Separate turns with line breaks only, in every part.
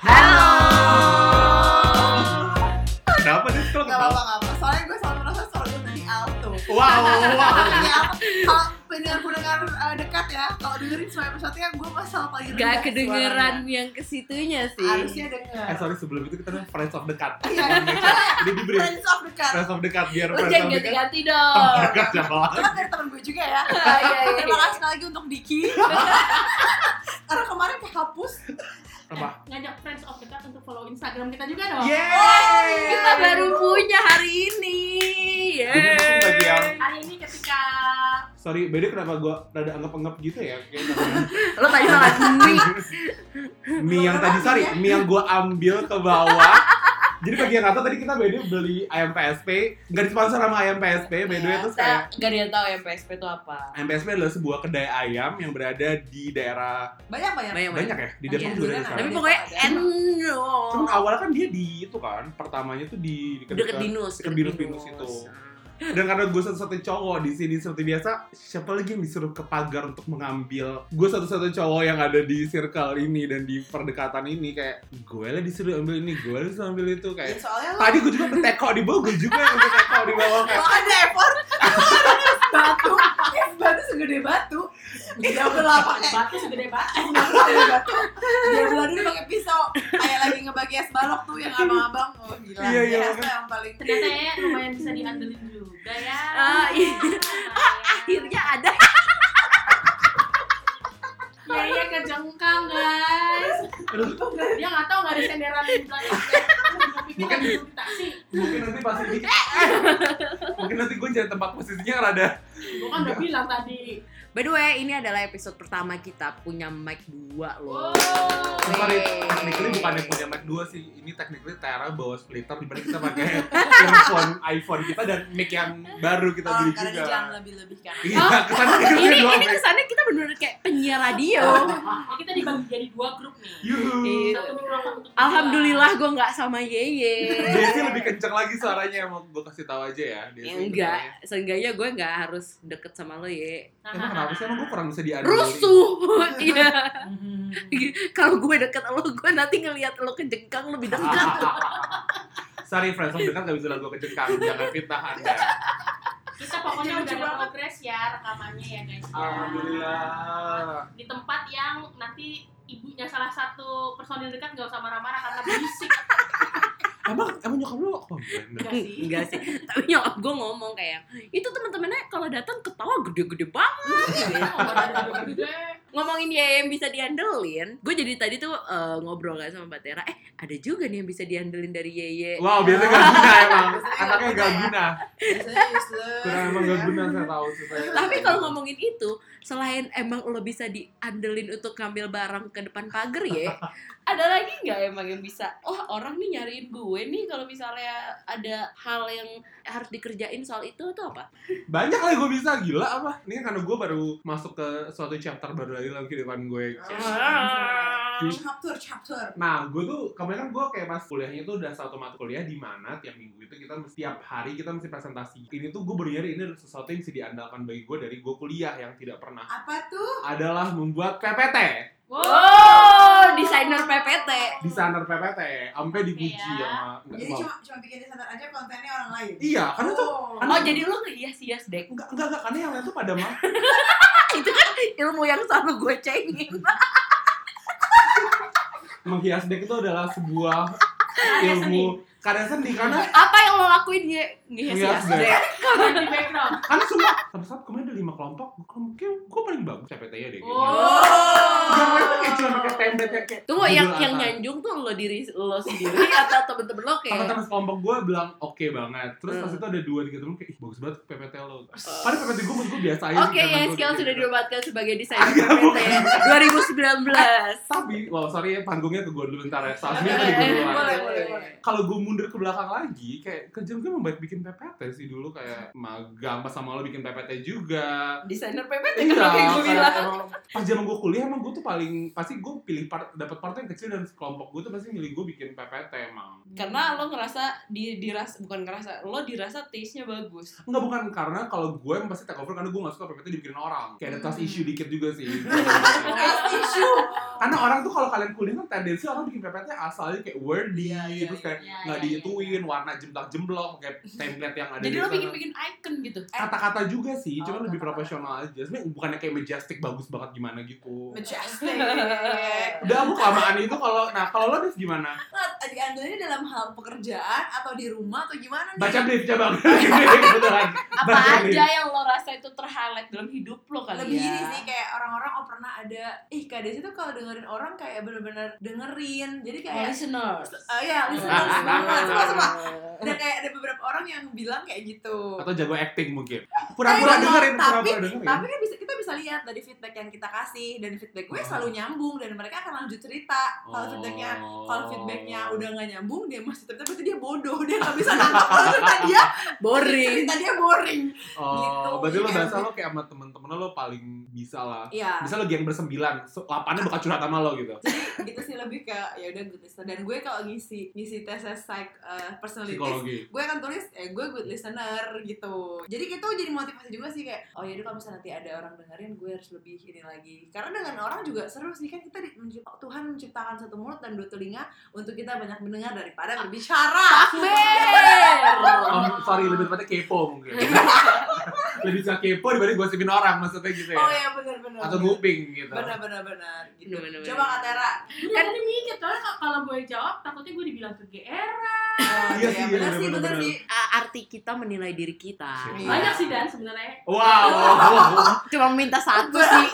Halo.
Kenapa nih kalau
Gak
ketawa?
apa-apa, soalnya gue selalu merasa suara gue dari alto.
Oh.
Wow, wow.
Ya, kalau pendengar-pendengar eh, dekat ya, kalau dengerin semua episode-nya gue masalah paling rendah
Gak kedengeran yang kesitunya
suaranya.
sih.
Harusnya denger.
Eh sorry sebelum itu kita friends of the cat.
Iya.
Jadi di brief
Friends of dekat.
friends of the cat biar
Lu
friends
Oh, jangan
of the cat.
ganti-ganti dong.
Dekat siapa lagi?
Itu kan dari temen gue juga ya.
Iya, iya, iya.
Terima kasih lagi untuk Diki. Karena kemarin kehapus.
Apa?
ngajak friends of the cat untuk follow Instagram kita
Oh,
juga dong.
Yeay!
Kita baru punya hari ini.
Jadi mungkin bagi yang-
Hari ini
Iya.
ketika
Sorry, beda kenapa gua rada anggap-anggap gitu ya? Kayak namanya.
Lo tadi salah mie.
mie yang tadi sorry, mie yang gua ambil ke bawah. Jadi bagi yang nggak tahu tadi kita beda beli ayam PSP, nggak disponsor sama ayam PSP, Ya, by the way terus kayak
Gak ada yang tahu ya yang PSP itu apa.
ayam PSP adalah sebuah kedai ayam yang berada di daerah
Banyak banyak.
Banyak
banyak ya di Depok
Iya.
juga ada
Tapi
sekarang.
pokoknya eno.
Cuman awalnya kan dia di itu kan, pertamanya tuh di dekat
Deket dinus.
deket dinus-dinus itu. Dan karena gue satu-satunya cowok di sini seperti biasa, siapa lagi yang disuruh ke pagar untuk mengambil? Gue satu-satunya cowok yang ada di circle ini dan di perdekatan ini kayak gue lah disuruh ambil ini, gue lah disuruh ambil itu
Ya,
kayak.
soalnya lo
Tadi gue juga berteko di bawah, gue juga yang berteko di bawah kayak.
Kalau Oh, ada effort, es batu, es batu segede batu. Dia belah pakai,
batu segede batu.
dia belah dulu Eh. batu. Dia belah dulu pakai pisau. Kayak lagi ngebagi es balok tuh yang abang-abang. Oh gila,
Iya, iya,
dia es
makanya.
yang paling.
Ternyata ya lumayan bisa diandelin juga ya. Ah,
Ah, iya.
Akhirnya
Akhirnya ada.
ya ya kejengkang guys. Dia nggak tahu nggak ada senderan di belakang. Gua pikir
Mungkin-
lagi duduk taksi.
Mungkin nanti pasti di, mungkin nanti gue jadi tempat posisinya rada.
Gue kan udah bilang tadi.
By the way, ini adalah episode pertama kita punya mic 2 loh.
Wow.
Sorry, Oh.
Wey.
technically bukan yang punya Mac 2 sih. Ini technically Tera bawa splitter dibanding kita pakai earphone iPhone kita dan mic yang baru kita
Oh,
beli
karena dia
juga.
jangan lebih-lebih kan.
Iya, kesannya
Oh, ini
dua
ini
mic.
kesannya kita benar-benar kayak penyiar radio.
Nah, kita dibagi jadi dua grup nih.
Yuhu.
Oh. Iya.
Satu mikrofon untuk berdua.
Alhamdulillah gue nggak sama Yeye.
Jesse lebih kenceng lagi suaranya emang gue kasih tahu aja ya.
Ya,
Jesse
enggak, seenggaknya gue nggak harus deket sama lo ye.
Nah,
sebenarnya. Emang kenapa sih emang gue kurang bisa diadu?
Rusuh, iya.
Hmm.
Kalau gue deket lo, gue nanti ngelihat lo kejengkang lebih dekat.
Sorry friends, om dengar gak bisa lagu kejengkang, jangan fitnah anda.
Kita pokoknya udah
Lucu
ada
banget.
progres ya rekamannya ya guys. ya.
Alhamdulillah.
di tempat yang nanti ibunya salah satu personil dekat gak usah marah-marah karena berisik
Emang emang nyokap lu komplain?
Enggak sih.
Enggak sih, tapi nyokap gue ngomong kayak itu teman-temannya kalau datang ketawa gede-gede banget.
Iya, Orang-orang gede.
Ngomongin ya yang bisa diandelin. Gue jadi tadi tuh eh, ngobrol kan sama Mbak Tera, eh ada juga nih yang bisa diandelin dari Yeye.
Wow, biasanya gak guna emang.
Biasanya gak
Anaknya gak
guna
guna.
Biasanya useless.
Kurang emang gak guna saya tahu sih. saya.
Tapi kalau ngomongin itu, selain emang lo bisa diandelin untuk ngambil barang ke depan pagar ya, ada lagi nggak emang yang bisa? Wah orang nih nyariin gue nih kalau misalnya ada hal yang harus dikerjain soal itu atau apa?
banyak lah gue bisa gila apa? Ini karena gue baru masuk ke suatu chapter baru lagi dalam kehidupan gue.
Oh. Ah.
Chapter, chapter.
Nah, gue tuh kemarin kan gue kayak pas kuliahnya tuh udah satu mata kuliah di mana tiap minggu itu kita mesti- tiap hari kita mesti presentasi. Ini tuh gue baru nyari ini adalah sesuatu yang bisa diandalkan bagi gue dari gue kuliah yang tidak pernah
Apa tuh?
adalah membuat PPT,
Oh, desainer PPT.
desainer PPT, sampai dipuji
Iya.
sama nggak
Jadi
mau.
cuma cuma bikin desainer aja kontennya orang lain.
Iya, karena tuh
Oh.
Oh jadi lo ngehias-hias dek?
enggak enggak enggak, karena yang lain tuh pada mah
Ah, kan Ilmu yang selalu gue cengin.
menghias deck itu adalah sebuah
Karya seni.
ilmu karya seni karena
Apa yang lo lakuin ya?
Ngehias
Ngehias-hias
dek.
dek.
Yang di background
karena semua sampai saat kemarin ada lima kelompok mungkin gue paling bagus PPT-nya ya deh kayaknya.
Oh.
yang lain tuh kayak cuma pakai template yang kayak
Tunggu yang
judul
yang
atas.
nyanjung tuh lo diri lo sendiri atau temen-temen lo kayak?
teman-teman sekelompok gue bilang oke banget terus pas
Hmm.
itu ada dua tiga temen kayak ih bagus banget PPT lo padahal PPT gue menurut gue biasa aja sih,
Oke, ya,
karena
sekarang
kan, gua
sudah
gitu.
dinobatkan sebagai desainer PPT 2019.
tapi wow sorry ya panggungnya ke gue dulu bentar ya Sasmi
Iya,
tadi gue
iya,
duluan
boleh, boleh, boleh.
kalau gue mundur ke belakang lagi kayak kerjaan gue membuat bikin PPT sih dulu kayak magang pas sama lo bikin PPT juga
Desainer PPT
Iya,
kan kayak gue
kayak
bilang.
emang pas zaman gue kuliah emang gue tuh paling pasti gue pilih part dapat part yang kecil dan kelompok gue tuh pasti milih gue bikin PPT emang.
Karena lo ngerasa di dirasa bukan ngerasa, lo dirasa taste-nya bagus.
Enggak bukan karena kalau gue emang pasti take over karena gue gak suka PPT dibikinin orang. Kayak ada trust
Hmm.
issue dikit juga sih.
Terus tisu.
Karena orang tuh kalau kalian kuliah kan tendensi orang bikin PPT asalnya kayak wordy,
Iya, iya,
terus
iya.
kayak nggak diituin, warna jemblak-jemblok, kayak template yang ada
Jadi
di
lo
sana.
bikin-bikin icon gitu.
Kata-kata juga sih,
Oh,
cuma lebih
kata-kata.
profesional aja. Sebenarnya bukannya kayak majestic bagus banget gimana gitu.
Majestic.
Udah aku kelamaan itu kalau nah kalau lo Dev gimana?
Nah, diandelin dalam hal pekerjaan atau di rumah atau gimana nih?
Baca brief coba. Kebetulan.
Apa
Baca brief.
ya.
aja yang lo rasa itu terhighlight dalam hidup lo kali
lebih
ya?
ini sih kayak orang-orang oh pernah ada ih kak Desi tuh kalau dengerin orang kayak bener-bener dengerin jadi
Oh,
kayak
listeners.
eh, ya
ah,
listeners banget suka suka dan kayak ada beberapa orang yang bilang kayak gitu
Atau jago acting mungkin.
Tapi
Pura-pura
kalau-
dengerin,
Eh, tapi
pura-pura dengerin.
tapi kan bisa kita bisa lihat dari feedback yang kita kasih dan feedback gue selalu
Oh.
nyambung dan mereka akan lanjut cerita kalau feedbacknya kalau feedbacknya
Oh.
udah nggak nyambung dia masih tetap berarti dia bodoh dia nggak bisa nangkap kalau cerita dia
Boring.
cerita dia boring gitu.
Oh, berarti lo
Iya.
bahasa lo kayak sama temen-temen lo, lo paling bisa lah.
ya
Bisa lo geng bersembilan, so- lapannya bakal curhat sama lo gitu.
gitu sih lebih ke ya udah good listener dan gue kalau ngisi ngisi tes psych eh, personality
Psikologi.
gue akan tulis eh gue good listener gitu jadi itu jadi motivasi juga sih kayak oh jadi kalau misalnya nanti ada orang dengerin gue harus lebih ini lagi karena dengan orang juga seru sih kan kita di, mencip- Tuhan menciptakan satu mulut dan dua telinga untuk kita banyak mendengar daripada berbicara
Oh, sorry, lebih tepatnya kepo mungkin. lebih suka kepo dibanding gosipin orang, maksudnya gitu ya.
oh ya benar-benar
Atau nguping gitu.
benar-benar benar gitu
Bener-bener.
coba kak Tera
Kan ini mikir, soalnya kalau- kalau gue jawab takutnya gue dibilang ke GR.
Oh,
Iya sih, iya,
benar sih
bener-bener.
benar sih
A- Ah, Arti kita menilai diri kita.
Iya.
Banyak sih dan sebenarnya.
Wow, wow, wow.
Cuma minta satu sih.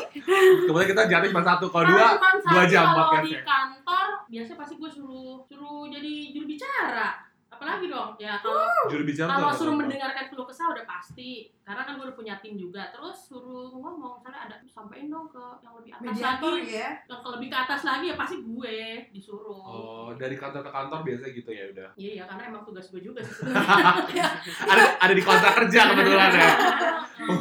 Kemudian kita jatuh cuma satu, kalau dua
Karena cuma
dua jam
satu
ya.
Kalau di
podcastnya.
kantor biasanya pasti gue suruh suruh jadi juru bicara. Apalagi dong ya kalau
juru bicara. tuh
Kalau
ada
suruh
berapa?
mendengarkan keluh kesah udah pasti, karena kan gue udah punya tim juga. Terus suruh ngomong, misalnya ada sampein dong ke yang lebih atas
mediator
lagi,
ya
yang ke lebih ke atas lagi ya pasti gue disuruh.
Oh, dari kantor ke kantor biasanya gitu ya udah.
Iya iya karena emang tugas gue juga sih. sebenarnya.
Ada ada di kontrak kerja kebetulan ya.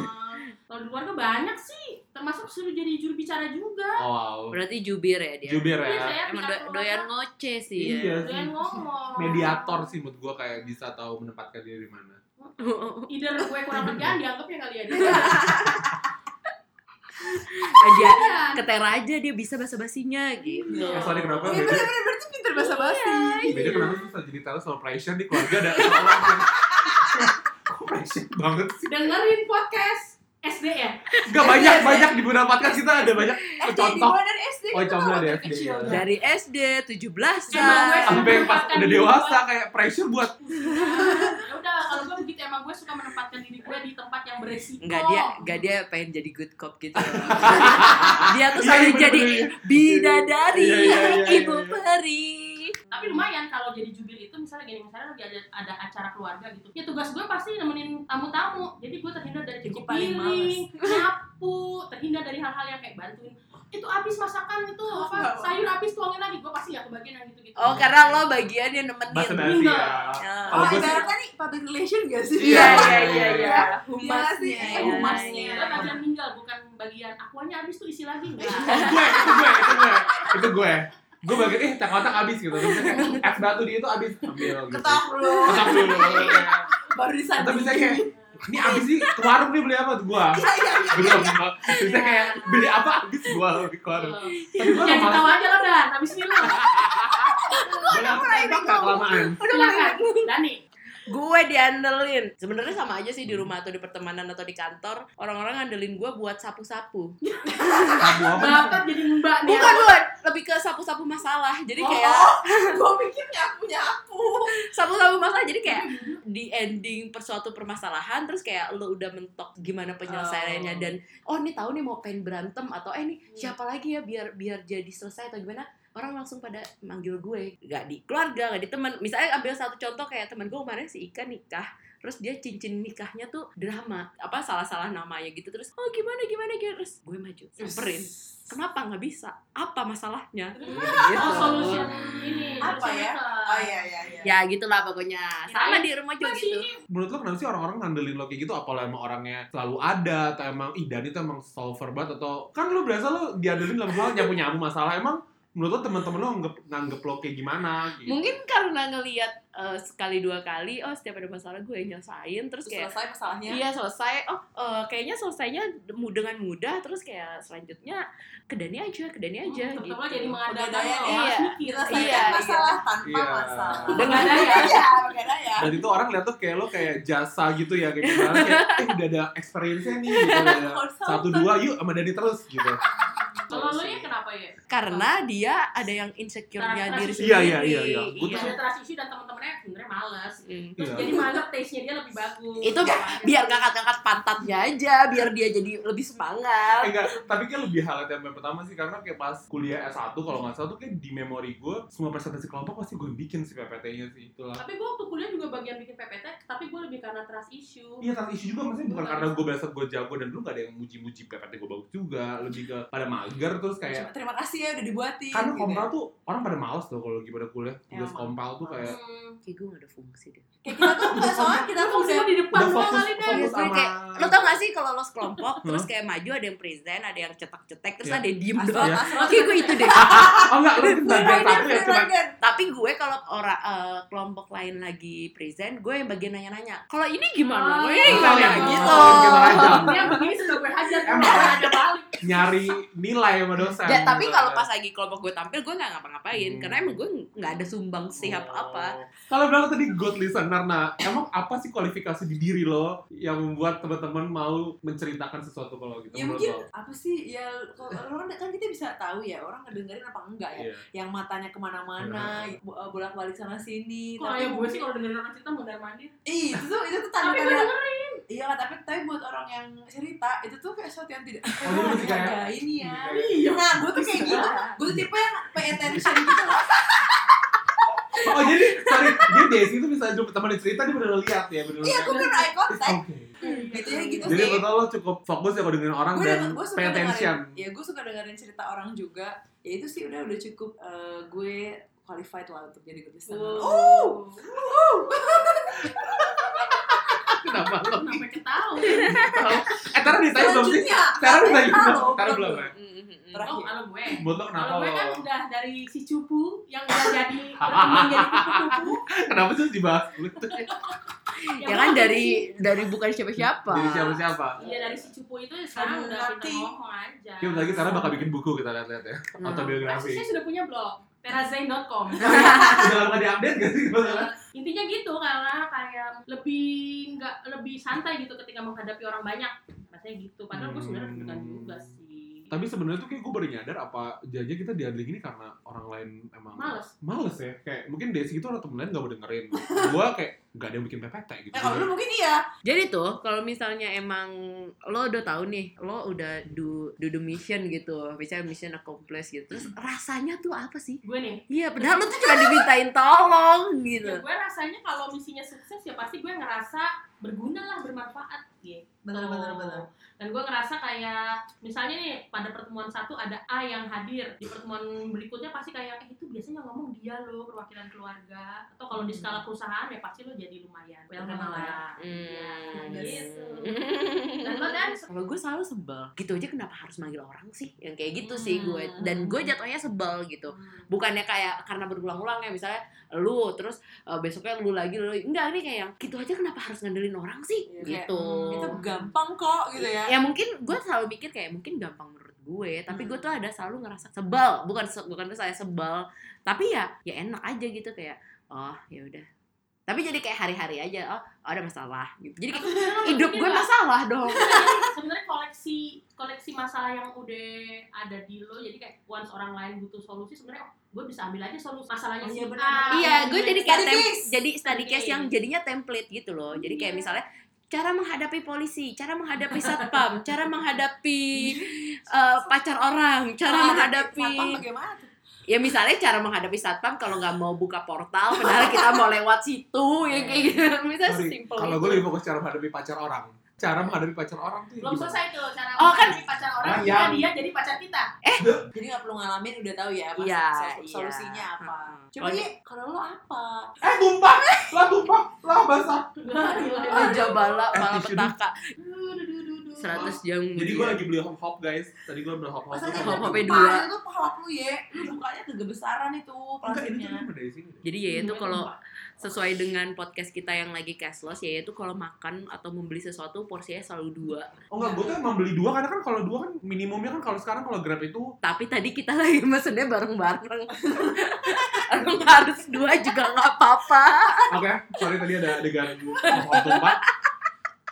Eh, Kalau di keluarga banyak sih, termasuk suruh jadi juru bicara juga.
Oh, wow.
Berarti jubir ya dia.
Jubir
Iya,
ya.
saya
Emang
pindah
do-
keluarga,
doyan ngoceh sih
Iya
ya.
sih.
doyan ngomong.
Mediator sih menurut gua kayak bisa tahu menempatkan diri di mana. Iya.
Either gue kurang kerjaan dianggapnya kali ya.
aja
Iya.
ketera Eh, aja dia bisa basa basinya gitu.
Eh, sorry kenapa?
Iya
Beda,
benar-benar berarti pinter bahasa basi
beda kenapa sih saat jadi talent sama pressure di keluarga ada seorang yang kan? Kok pressure banget sih?
Dengerin podcast SD ya.
Gak banyak banyak di mendapatkan kita ada banyak
SD Iya, di
contoh
bawah dari SD
Oh,
gitu
contoh
waktu
dari SD,
kecil. Iya.
ya.
Dari SD 17
Emang gue
an
sampai pas udah dewasa kayak pressure buat
ya udah kalau gue begitu emang gue suka menempatkan diri gue di tempat yang beresiko
Enggak dia
Oh.
enggak dia pengen jadi good cop gitu. dia
Iya,
tuh selalu
iya,
jadi
bener-bener.
bidadari,
Iya, iya, iya,
ibu
iya.
peri.
tapi lumayan kalau jadi jubir itu misalnya gini misalnya lagi ada, ada acara keluarga gitu ya tugas gue pasti nemenin tamu-tamu jadi gue terhindar dari cuci
Gue paling
piring nyapu terhindar dari hal-hal yang kayak bantuin itu habis masakan itu apa sayur habis tuangin lagi gue pasti nggak kebagian yang gitu-gitu
Oh, karena lo bagian yang nemenin.
bahasa
Iya,
basi ya.
Ya.
Oh,
Kalau gua sih-
ibaratnya nih public relation gak sih?
Iya, iya,
iya,
iya,
iya.
iya.
Iya sih,
Humasnya.
iya,
ya.
humasnya.
Gue bagian tinggal bukan bagian akuannya habis tuh isi lagi
Iya.
Nah, gitu.
Oh,
enggak
gue, itu gue, itu gue, itu gue. Gue bagian eh tak kotak habis gitu. Terus kayak, Es batu dia itu habis ambil gitu.
Ketok lu,
Ketok dulu. kayak.
baru
Atau
disandingin.
bisa kayak ini habis sih ke warung nih beli apa gua.
Iya, iya, iya.
Belum. Bisa kayak beli apa habis gua ke warung. Tapi gua
Jangan
lama
tahu aja lo dan habis ini lo
gua
mulai
lama
bingung.
kelamaan.
Udah mulai.
silakan Dani
gue diandelin sebenarnya sama aja sih di rumah atau di pertemanan atau di kantor orang-orang ngandelin gue buat sapu-sapu
Kamu apa?
bakat jadi mbak
Iya,
nih
bukan buat lebih ke sapu-sapu masalah jadi kayak
Oh, gue pikir nyapu nyapu.
sapu-sapu masalah jadi kayak di ending per suatu permasalahan terus kayak lo udah mentok gimana penyelesaiannya
Oh.
dan oh ini tahu nih mau pengen berantem atau eh nih siapa lagi ya biar biar jadi selesai atau gimana orang langsung pada manggil gue nggak di keluarga nggak di teman misalnya ambil satu contoh kayak teman gue kemarin si Ika nikah terus dia cincin nikahnya tuh drama apa salah-salah namanya gitu terus oh gimana gimana gimana terus gue maju samperin kenapa nggak bisa apa masalahnya
oh
Gitu.
solution ini
Apa
solution
ya?
method.
Oh iya iya iya.
ya gitulah pokoknya sama di rumah juga
Masih
gitu
ini
Menurut lo kenapa sih orang-orang ngandelin lo kayak gitu? Apa lo emang orangnya selalu ada? Atau emang ih Dani tuh emang solver banget? Atau kan lo berasa lo diandelin dalam hal nyapu nyapu masalah? Emang menurut lo teman-teman lo nganggep, nganggep lo kayak gimana gitu.
Mungkin karena ngelihat eh, sekali dua kali, oh setiap ada masalah gue yang nyelesain, terus
Terus
kayak
selesai masalahnya.
Iya selesai. Oh eh, kayaknya selesainya mu- dengan mudah. Terus kayak selanjutnya ke Dani aja, ke Dani aja gitu.
Hmm, Teman-teman jadi mengadakan
Iya.
loh, harus mikir.
Menyelesaikan
Iya, iya.
masalah tanpa
Iya.
masalah.
Dengan
daya.
Iya, dengan daya.
Dan itu orang lihat tuh kayak lo kayak jasa gitu ya kayak gimana kayak eh udah ada experience-nya nih gitu. udah ada Satu dua yuk sama Dani terus gitu.
Kalau lo ya kenapa ya?
Karena dia ada yang insecure-nya
Karena
diri
transisi.
sendiri.
Iya, iya, iya, iya. Gua
Iya.
tuh-
Ada trust issue dan teman-temannya sebenarnya males.
Mm.
Terus
Iya.
jadi menganggap taste-nya dia lebih bagus. Iya.
Itu biar ngangkat-ngangkat pantatnya aja, biar dia jadi lebih
Eh,
semangat.
enggak, tapi kayak lebih highlight yang pertama sih karena kayak pas kuliah S1 kalau nggak salah tuh kayak di memori gue semua presentasi kelompok pasti gue bikin sih PPT-nya sih itulah.
Tapi gue waktu kuliah juga bagian bikin PPT, tapi gue lebih karena trust issue.
Iya, tapi isu juga maksudnya bukan karena gue biasa gue jago dan dulu gak ada yang muji-muji PPT gue bagus juga, lebih ke pada mager terus kayak
Cuma, Terima kasih ya udah
Iya,
dibuatin.
Iya. karena
gitu
kompal
ya.
tuh orang pada males loh kalau lagi pada
Ya,
kuliah tugas
Emang.
kompal tuh kayak
Hmm.
Kayak gue gak ada fungsi deh.
Kayak kita tuh enggak soalnya kita
Kita
tuh udah
di depan
udah
doang
fokus
kali deh.
fokus
Iya, gue
sama
kayak, Lo tau gak sih kalau lo sekelompok, terus kayak maju ada yang present, ada yang cetak-cetak, terus
Iya.
ada yang diem
asal
doang.
Iya.
asal
Kayak gue itu deh.
oh enggak lu bagian satu ya
kan.
cuma
Tapi gue kalau orang eh, kelompok lain lagi present, gue yang bagian nanya-nanya. Kalau ini gimana?
Oh.
Gue yang gimana?
Iya,
gitu.
kita aja.
Dia begini sudah gue hajar,
Emang.
nggak ada balik.
nyari nilai sama dosen
Dan, tapi
gitu.
kalau pas lagi kelompok gue tampil, gue nggak ngapa-ngapain.
Hmm.
Karena emang gue nggak ada sumbang sih apa-apa.
Oh. Kalau bilang tadi good listener, nah emang apa sih kualifikasi di diri lo yang membuat teman-teman mau menceritakan sesuatu kalau gitu
ya
menurut
mungkin
lo?
apa sih ya kalau orang kan kita bisa tahu ya orang ngedengerin apa enggak ya
Iya.
yang matanya kemana-mana
Iya.
bo- bolak-balik sana sini
Kok ayah gue sih kalau dengerin orang cerita mundar mandir.
Ih, itu tuh itu tuh
Tapi gue
tanda-tanda
dengerin.
iya lah, tapi tapi buat orang yang cerita itu tuh kayak sesuatu yang tidak
Oh, jadi mesti kayak-
ada ini ya
Iya.
nah gue tuh kayak gitu gue tuh tipe yang pay attention gitu loh
Oh jadi sorry, dia Desi itu bisa jumpa teman di cerita dia benar lihat ya benar.
iya gue kan eye contact
Oke.
gitu ya gitu
Jadi
sih
menurut lo cukup fokus ya kalau dengerin orang
gue
dan
denger- gue suka
pay attention.
dengerin ya gue suka dengerin cerita orang juga ya itu sih udah udah cukup eh, gue qualified lah untuk jadi good listener oh
Oh.
Kenapa lo?
Kenapa ketawa? Oh,
Eh Tara ditanya belum sih?
selanjutnya
Tara ditanya
Tara
belum?
lo,
Tara
belum.
belum ya?
Mm-hmm.
Terakhir.
Oh, kalau gue.
Buat lo kenapa
Kalau gue
lo?
kan udah dari si cupu yang udah jadi berkembang jadi kupu-kupu.
Kenapa sih dibahas dulu tuh?
Ya kan dari dari bukan siapa-siapa.
Jadi siapa-siapa?
Iya dari si cupu itu sekarang
Aduh,
udah
mati.
pinter ngomong aja.
Kita Iya, lagi Tara bakal bikin buku kita lihat-lihat ya.
Hmm.
Autobiografi.
Saya sudah punya blog terazain.com.
Udah lama diupdate gak sih?
Eh, intinya gitu karena kayak lebih nggak lebih santai gitu ketika menghadapi orang banyak rasanya gitu padahal gue sebenarnya
Hmm.
deg-degan juga sih
Tapi sebenarnya tuh kayak gue baru nyadar apa jaja kita diadili gini karena orang lain emang
males
males ya. Kayak mungkin Desi itu orang temen lain gak mau dengerin. gue kayak gak ada yang bikin PPT gitu.
Eh, kalau lu mungkin iya
Jadi tuh kalau misalnya emang lo udah tahu nih, lo udah do do the mission gitu, misalnya mission accomplished gitu, terus rasanya tuh apa sih?
gue nih
Iya, padahal lo tuh cuma dimintain tolong
ya
gitu.
gue rasanya kalau misinya sukses ya pasti gue ngerasa berguna lah bermanfaat gitu
bener bener bener
dan gue ngerasa kayak misalnya nih pada pertemuan satu ada A yang hadir di pertemuan berikutnya pasti kayak eh, itu biasanya ngomong dia loh perwakilan keluarga atau kalau di
Hmm.
skala perusahaan ya pasti lo jadi lumayan well
Terkenal
lah
Hmm.
Ya, gitu
Hmm.
dan lo kan dan
Kalau gue selalu sebel. Gitu aja kenapa harus manggil orang sih? Yang kayak gitu sih
Hmm.
gue. Dan gue jatuhnya sebel gitu. Bukannya kayak karena berulang-ulang ya misalnya lu terus uh, besoknya lu lagi lu enggak ini kayak yang gitu aja kenapa harus ngandelin orang sih?
Iya, kayak,
gitu.
"Hmm, itu gampang kok gitu ya
ya mungkin gue selalu mikir kayak mungkin gampang menurut gue tapi gue tuh ada selalu ngerasa sebel bukan se- bukan saya sebel tapi ya ya enak aja gitu kayak oh ya udah tapi jadi kayak hari-hari aja oh, oh, ada masalah gitu jadi kayak,
Nah,
hidup gue masalah dong
Sebenarnya- sebenarnya koleksi koleksi masalah yang udah ada di lo jadi kayak once orang lain butuh solusi sebenarnya oh, gue bisa ambil aja solusi masalahnya
Oh,
si
iya,
A.
benar-benar.
iya gue jadi kayak
Study
tem-
case.
jadi study
Study
case yang
case.
jadinya template gitu loh jadi kayak
Iya.
misalnya cara menghadapi polisi, cara menghadapi satpam, cara menghadapi eh, pacar orang, cara
Kalau ada
menghadapi
satpam bagaimana tuh?
ya misalnya cara menghadapi satpam kalau nggak mau buka portal padahal kita mau lewat situ ya kayak gitu misalnya
Sorry,
sesimpel
Kalau
itu.
gue lebih fokus cara menghadapi pacar orang. Cara menghadapi pacar orang tuh ya
belum
gimana?
selesai tuh cara
Oh, kan-
menghadapi pacar orang
Ah,
kita
iya.
dia jadi pacar kita
Eh,
jadi nggak perlu ngalamin udah tahu ya mas,
Iya,
sol-
iya.
solusinya apa
Heeh.
coba
Kalau-
Yi, kalau lo apa
Eh tumpah! Lah tumpah! Lah basah!
Aduh, aduh,
oh,
aduh.
jabala
Eh,
malah
tisu
petaka
Duh, duh, duh, duh, duh.
100 jam gitu.
Jadi gue lagi beli hop hop guys. Tadi gue beli hop hop.
Masalahnya
Hop-hopnya
itu
dua.
pas, itu pohon lu ya lu bukanya kegebesaran itu
Enggak ini tuh
plastiknya
cuma dari sini. deh.
jadi ya itu kalau sesuai dengan podcast kita yang lagi cashless ya itu kalau makan atau membeli sesuatu porsinya selalu dua
Oh enggak, gue tuh emang beli dua karena kan kalau dua kan minimumnya kan kalau sekarang kalau Grab itu
tapi tadi kita lagi mesennya bareng-bareng Emang harus dua juga nggak apa-apa
oke, sorry tadi ada adegan hop-hop tumpah.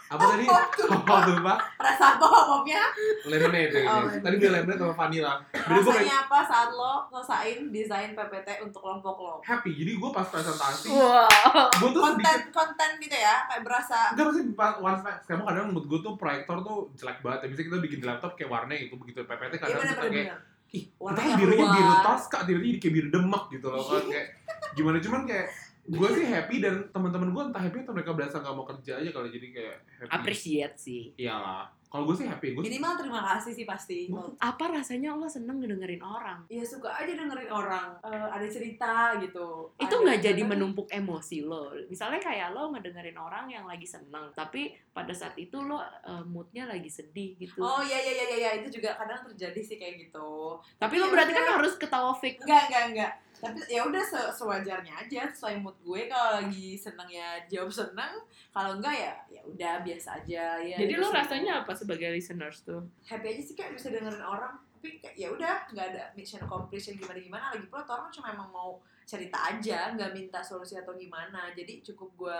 Apa tadi? Hop-hop tumpah.
rasa apa hopnya
Lemonade. ini.
Oh,
Tadi beli lemonade sama vanilla. Jadi gue kayak
rasanya apa saat lo ngelesain desain PPT untuk kelompok lo
happy. Jadi gue pas presentasi,
wow
gue tuh sedikit
konten konten gitu ya kayak berasa
Enggak maksudnya pas one fact. Sekarang kadang menurut gue tuh proyektor tuh jelek banget. Ya, Misalnya kita bikin di laptop kayak warna itu begitu PPT
iya
kadang
bener
suka
bener
kayak
bener
ih, kita
Warnanya
kan birunya
keluar.
biru Tosca, tiba-tiba jadi kayak biru demak gitu loh kan kayak gimana cuman kayak gue sih happy dan teman-teman gue entah happy atau mereka berasa nggak mau kerja aja kalau jadi kayak happy.
appreciate sih
Iyalah. Kalau gue sih happy, gue
minimal terima kasih sih pasti
apa rasanya lo seneng ngedengerin orang
ya suka aja dengerin orang eh, ada cerita gitu
itu
Ada-
nggak jadi
ada-
menumpuk emosi lo misalnya kayak lo ngedengerin orang yang lagi seneng tapi pada saat itu lo eh, moodnya lagi sedih gitu
oh iya iya iya iya itu juga kadang terjadi sih kayak gitu
tapi lo
iya,
berarti kan
iya.
harus ketawa fake
enggak enggak enggak tapi ya udah se- sewajarnya aja sesuai mood gue kalau lagi seneng ya jawab seneng kalau enggak ya ya udah biasa aja ya
jadi
itu
lo
sih.
rasanya apa sebagai listeners tuh
happy aja sih kayak bisa dengerin orang tapi kayak ya udah nggak ada mission completion gimana gimana lagi pula tuh orang cuma emang mau cerita aja nggak minta solusi atau gimana jadi cukup gue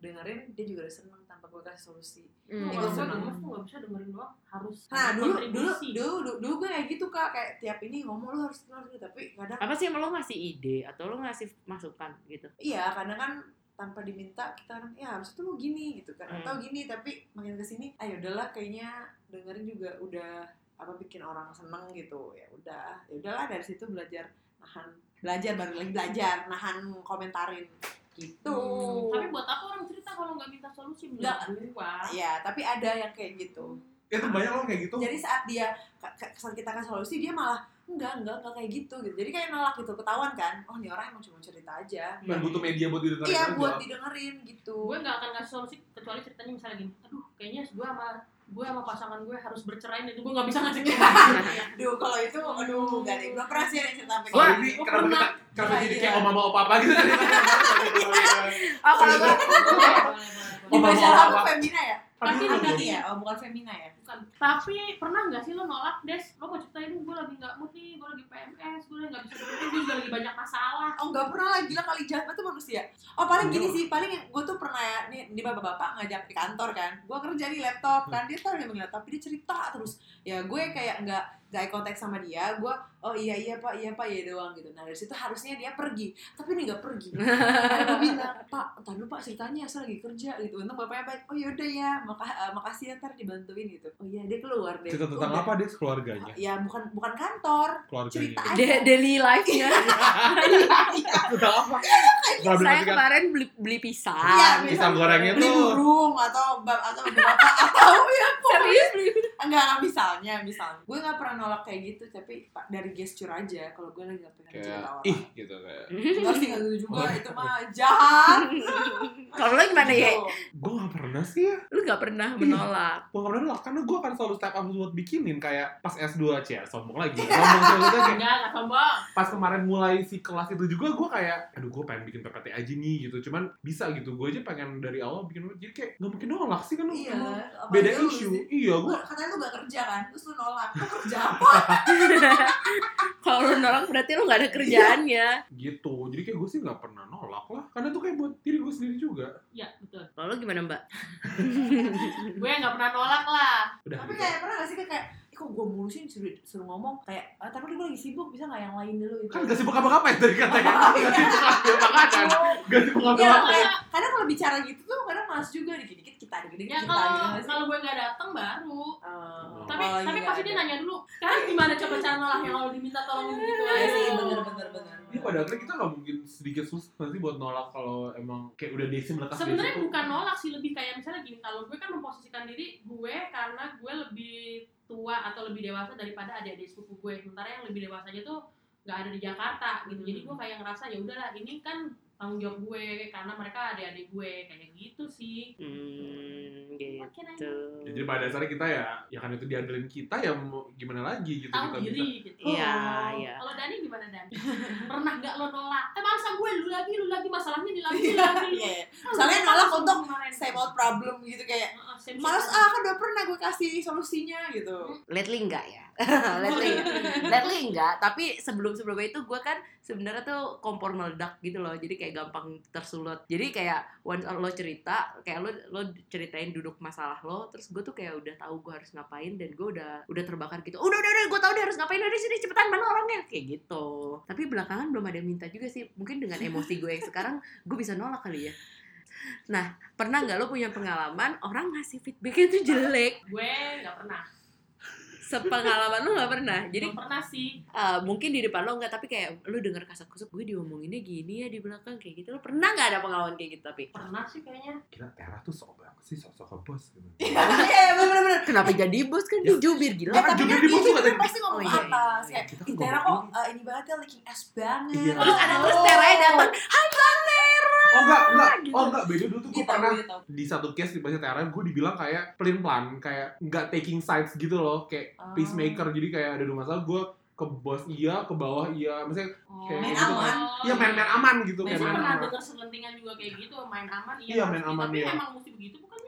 dengerin dia juga udah seneng tanpa gue kasih solusi
Hmm.
Ikut
Kalau gue
senang.
gemes tuh gak bisa dengerin doang, harus
nah
ada
dulu dulu
kontribusi.
dulu dulu, dulu gue kayak gitu kak kayak tiap ini ngomong lu harus lu harus gitu. tapi kadang
apa sih yang lo ngasih ide atau lo ngasih masukan gitu
iya kadang kan tanpa diminta kita kadang, ya harus itu lu gini gitu kan
Hmm.
atau gini tapi makin kesini ayo udahlah kayaknya dengerin juga udah apa bikin orang seneng gitu ya udah ya udahlah dari situ belajar nahan belajar baru lagi belajar nahan komentarin gitu
Hmm, Tapi buat apa orang cerita kalau nggak minta solusi
Nggak.
menurut gua?
ya tapi ada yang kayak gitu
itu banyak loh kayak gitu.
jadi saat dia ka- ka- saat kita kasih solusi dia malah enggak enggak enggak kayak gitu gitu jadi kayak nolak gitu ketahuan kan oh ini orang emang cuma cerita aja
Dan butuh media buat didengerin
iya
aja.
buat didengerin gitu
Gue nggak akan ngasih solusi kecuali ceritanya misalnya gini. Aduh, kayaknya gue sama gue sama pasangan gue harus bercerai dan gue nggak bisa ngasih solusi.
Aduh, kalau itu, aduh, enggak deh. Belum pernah sih ada yang cerita sampai
Wah,
kayak
ini
gitu.
kenapa
Pernah.
kita kenapa jadi kayak
Iya.
oma sama opa apa gitu Iya. tadi?
oh
kalau gue-
Boleh, boleh, boleh.
Di
Oma
bahasa
mau
apa
apa?
femina ya?
Tapi
Aduh,
enggak
Ini ya, oh bukan femina ya.
Bukan. Tapi pernah nggak sih lo nolak Des? Lo mau ceritain gue lagi nggak mood nih, gue lagi PMS, gue lagi nggak bisa dengerin, gue juga lagi banyak masalah.
Oh enggak pernah lah, gila kali jahat banget tuh manusia. Oh
Iya,
paling gini sih, paling yang gue tuh pernah ya, nih di bapak-bapak ngajak di kantor kan. Gue kerja di
Hmm.
laptop kan, dia taruh dia laptop, tapi dia cerita terus. Ya gue kayak enggak enggak eye contact sama dia, gue oh iya iya pak, iya pak, iya doang gitu. Nah dari situ harusnya dia pergi, tapi dia enggak pergi. Akhirnya gue bilang, pak, entar dulu pak ceritanya, saya lagi kerja gitu. Untung bapaknya baik, oh yaudah ya, maka, eh, makasih ya, ntar dibantuin gitu. Oh iya, dia keluar deh.
Cerita tentang
Udah.
apa dia keluarganya?
Ya bukan bukan kantor,
Keluarganya.
cerita
Da- daily life-nya
Iya,
Tentang apa?
saya
Problematika
kemarin beli beli Gitu. pisang
Iya,
pisang gorengnya
beli
tuh.
burung atau bab atau bapak atau ya pokoknya
serius beli
enggak enggak, misalnya misalnya gue nggak pernah nolak kayak gitu tapi pa- dari gesture aja kalau gue lagi nggak pengen
Kayak
cerita orang
ih Oh. gitu kayak.
enggak sih nggak gitu juga itu mah jahat
kalau lo gimana ya
Gitu.
Gue gak pernah sih ya.
lu nggak pernah menolak
Gue gak pernah nolak karena gue akan selalu step up buat bikinin kayak pas S2 aja sombong lagi. Sombong sombong lagi.
Enggak, nggak sombong.
pas kemarin mulai si kelas itu juga gue kayak aduh gue pengen bikin PPT aja nih gitu cuman bisa gitu gue aja pengen dari awal bikin jadi kayak nggak mungkin nolak sih kan
iya
emang
apalagi
beda
lu
isu
sih.
iya
Lu-
gue
katanya lu gak kerja kan terus lu nolak lu kerja apa
kalau lu nolak berarti lu nggak ada kerjaannya
gitu jadi kayak gue sih nggak pernah nolak lah karena itu kayak buat diri gue sendiri juga
Iya, betul.
kalau lu gimana mbak
Gue nggak pernah nolak lah.
udah
tapi
gitu.
kayak pernah gak sih kayak Ih, kok gue mulu sih suruh, suruh ngomong kayak ah, tapi gue lagi sibuk bisa nggak yang lain dulu Iya, gitu
kan gak sibuk apa apa ya tadi katanya gak sibuk ngambil makanan gak sibuk ngambil
Iya,
apa
kayak kadang kalau bicara gitu tuh kadang males juga dikit-dikit kita dikit-dikit
Ya
kita gitu
kalau
nggak sih?
kalau gue nggak datang baru.
Eh,
Tapi
oh,
tapi
iya,
pasti
ada.
dia nanya dulu. Kan gimana coba cara nolaknya kalau diminta tolong gitu
Iya
aja.
sih, bener, bener, bener.
Iya.
Iya,
Ini pada akhirnya kita gak mungkin sedikit susah nanti buat nolak kalau emang kayak udah desi melekas dari
Sebenarnya
situ.
bukan nolak sih lebih kayak misalnya gini kalau gue kan memposisikan diri gue karena gue lebih tua atau lebih dewasa daripada adik-adik sepupu gue. Sementara yang lebih dewasanya tuh nggak ada di Jakarta gitu jadi
Hmm.
gue kayak ngerasa ya udahlah ini kan tanggung jawab gue karena mereka adik-adik gue kayak gitu sih
Hmm,
Makin
gitu.
aja.
Ya, jadi pada dasarnya kita ya ya kan itu diandelin kita ya mau gimana lagi gitu kita
tahu
bisa.
diri gitu
Iya,
Oh.
iya.
kalau Dani gimana Dani pernah nggak lo nolak eh masa gue lu lagi lu lagi masalahnya di lagi lu lagi
Iya, iya. Misalnya nolak untuk save out problem gitu kayak
Iya.
Males ah kan udah pernah gue kasih solusinya gitu.
Lately enggak ya? Lately. Lately enggak, tapi sebelum-sebelumnya itu gue kan sebenarnya tuh kompor meledak gitu loh. Jadi kayak gampang tersulut. Jadi kayak once lo cerita, kayak lo lo ceritain duduk masalah lo, terus gue tuh kayak udah tahu gue harus ngapain dan gue udah udah terbakar gitu. Udah udah udah gue tahu udah harus ngapain udah sini cepetan mana orangnya kayak gitu. Tapi belakangan belum ada yang minta juga sih. Mungkin dengan emosi gue yang sekarang gue bisa nolak kali ya. Nah, pernah nggak lo punya pengalaman orang ngasih feedbacknya tuh jelek?
gue nggak pernah
sepengalaman lu nggak pernah jadi
jadi pernah sih
uh, mungkin di depan lo nggak tapi kayak lu denger kasat kusut gue diomonginnya gini ya di belakang kayak gitu lo pernah nggak ada pengalaman kayak gitu tapi
pernah sih kayaknya
Kira Tera tuh sok banget sih sosok ke bos gitu.
Iya, iya benar-benar.
kenapa jadi bos kan dia
Ya.
jubir
Eh,
gila
Kan
tapi
juga
kan
di
dia
bawah
juga
ada-
pasti ngomong
Oh, iya,
atas
iya,
kayak
Kita kan
Intera
goblok.
kok eh, ini banget ya leaking ass banget.
Iya.
terus ada terus teranya datang hai Tera
Oh enggak, enggak.
gitu.
Oh enggak, beda dulu tuh gue
Iya,
Gitu,
pernah
ya.
gitu.
di satu case di pasien Tera gue dibilang kayak pelin pelan kayak nggak taking sides gitu loh kayak
Oh.
Ah.
peacemaker jadi kayak ada dua masalah gue ke bos iya ke bawah iya maksudnya
oh.
Kayak
Main gitu kan. aman.
ya main-main aman gitu
Gue
kayak
Main
sih
main
pernah
aman
dengar selentingan juga kayak gitu main aman iya,
Iya,
harus
main
gitu.
aman,
tapi
iya.
emang mesti begitu bukannya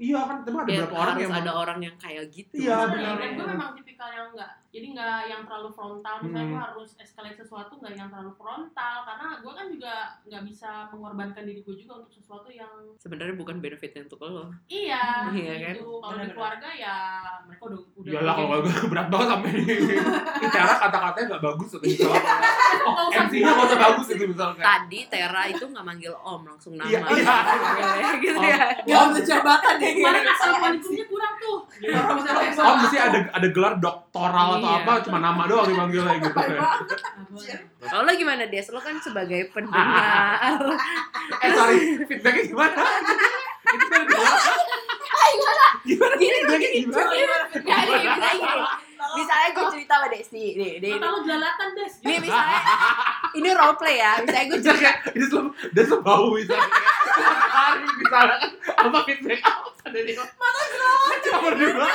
iya kan teman ada
ya,
berapa orang
harus
yang
ada orang yang kayak gitu
Iya,
Bener,
benar.
dan gue memang tipikal yang enggak jadi enggak yang terlalu frontal misalnya
Hmm.
gue harus escalate sesuatu enggak yang terlalu frontal karena gue kan juga enggak bisa mengorbankan diri gue juga untuk sesuatu yang
sebenarnya bukan benefitnya untuk lo
iya
Iya, kan?
gitu kalau di
Bener-bener.
keluarga ya mereka udah udah gitu.
Iyalah Iya kalau gue berat banget sampai ini. Tera kata-katanya nggak bagus atau gitu. misalnya.
Nggak
Oh,
usah
MC-nya nggak usah bagus gitu itu misalnya.
tadi Tera itu nggak manggil om langsung nama
Iya, iya.
gitu
Om.
ya
Gak ada jabatan deh
Kemarin
Iya.
kayak
assalamualaikumnya kurang tuh
Oh mesti ada ada gelar doktoral atau
Iya.
apa cuma nama doang dipanggilnya gitu.
Baik banget.
kalau lo gimana Des lo kan sebagai pendengar
Eh sorry feedbacknya gimana? Itu kan gimana? Gimana? Feedbacknya gimana?
Gak, gini, gini, gini. misalnya gue cerita sama Desi nih, nih,
Mata
nih.
lo jelalatan des Ah,
Ini misalnya ini role play ya. Misalnya gue
Bisa kayak dia selalu dia selalu bau misalnya. Hari misalnya apa feedback apa dari lo? Mata Cuma berdua.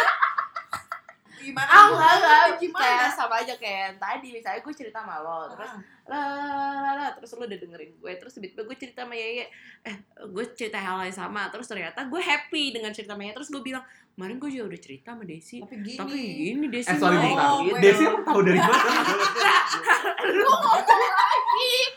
Gimana?
Ah, enggak, enggak.
Gimana?
Kayak sama aja kayak yang tadi. Misalnya gue cerita sama lo, terus la la la, la, terus lo udah dengerin gue, terus tiba-tiba gue cerita sama Yeye, eh gue cerita hal yang sama, terus ternyata gue happy dengan cerita sama Yeye, terus gue bilang, kemarin gue juga udah cerita sama Desi,
Tapi gini.
tapi ini Desi
Eh sorry
Oh,
bentar.
gue-
Desi emang tahu dari mana?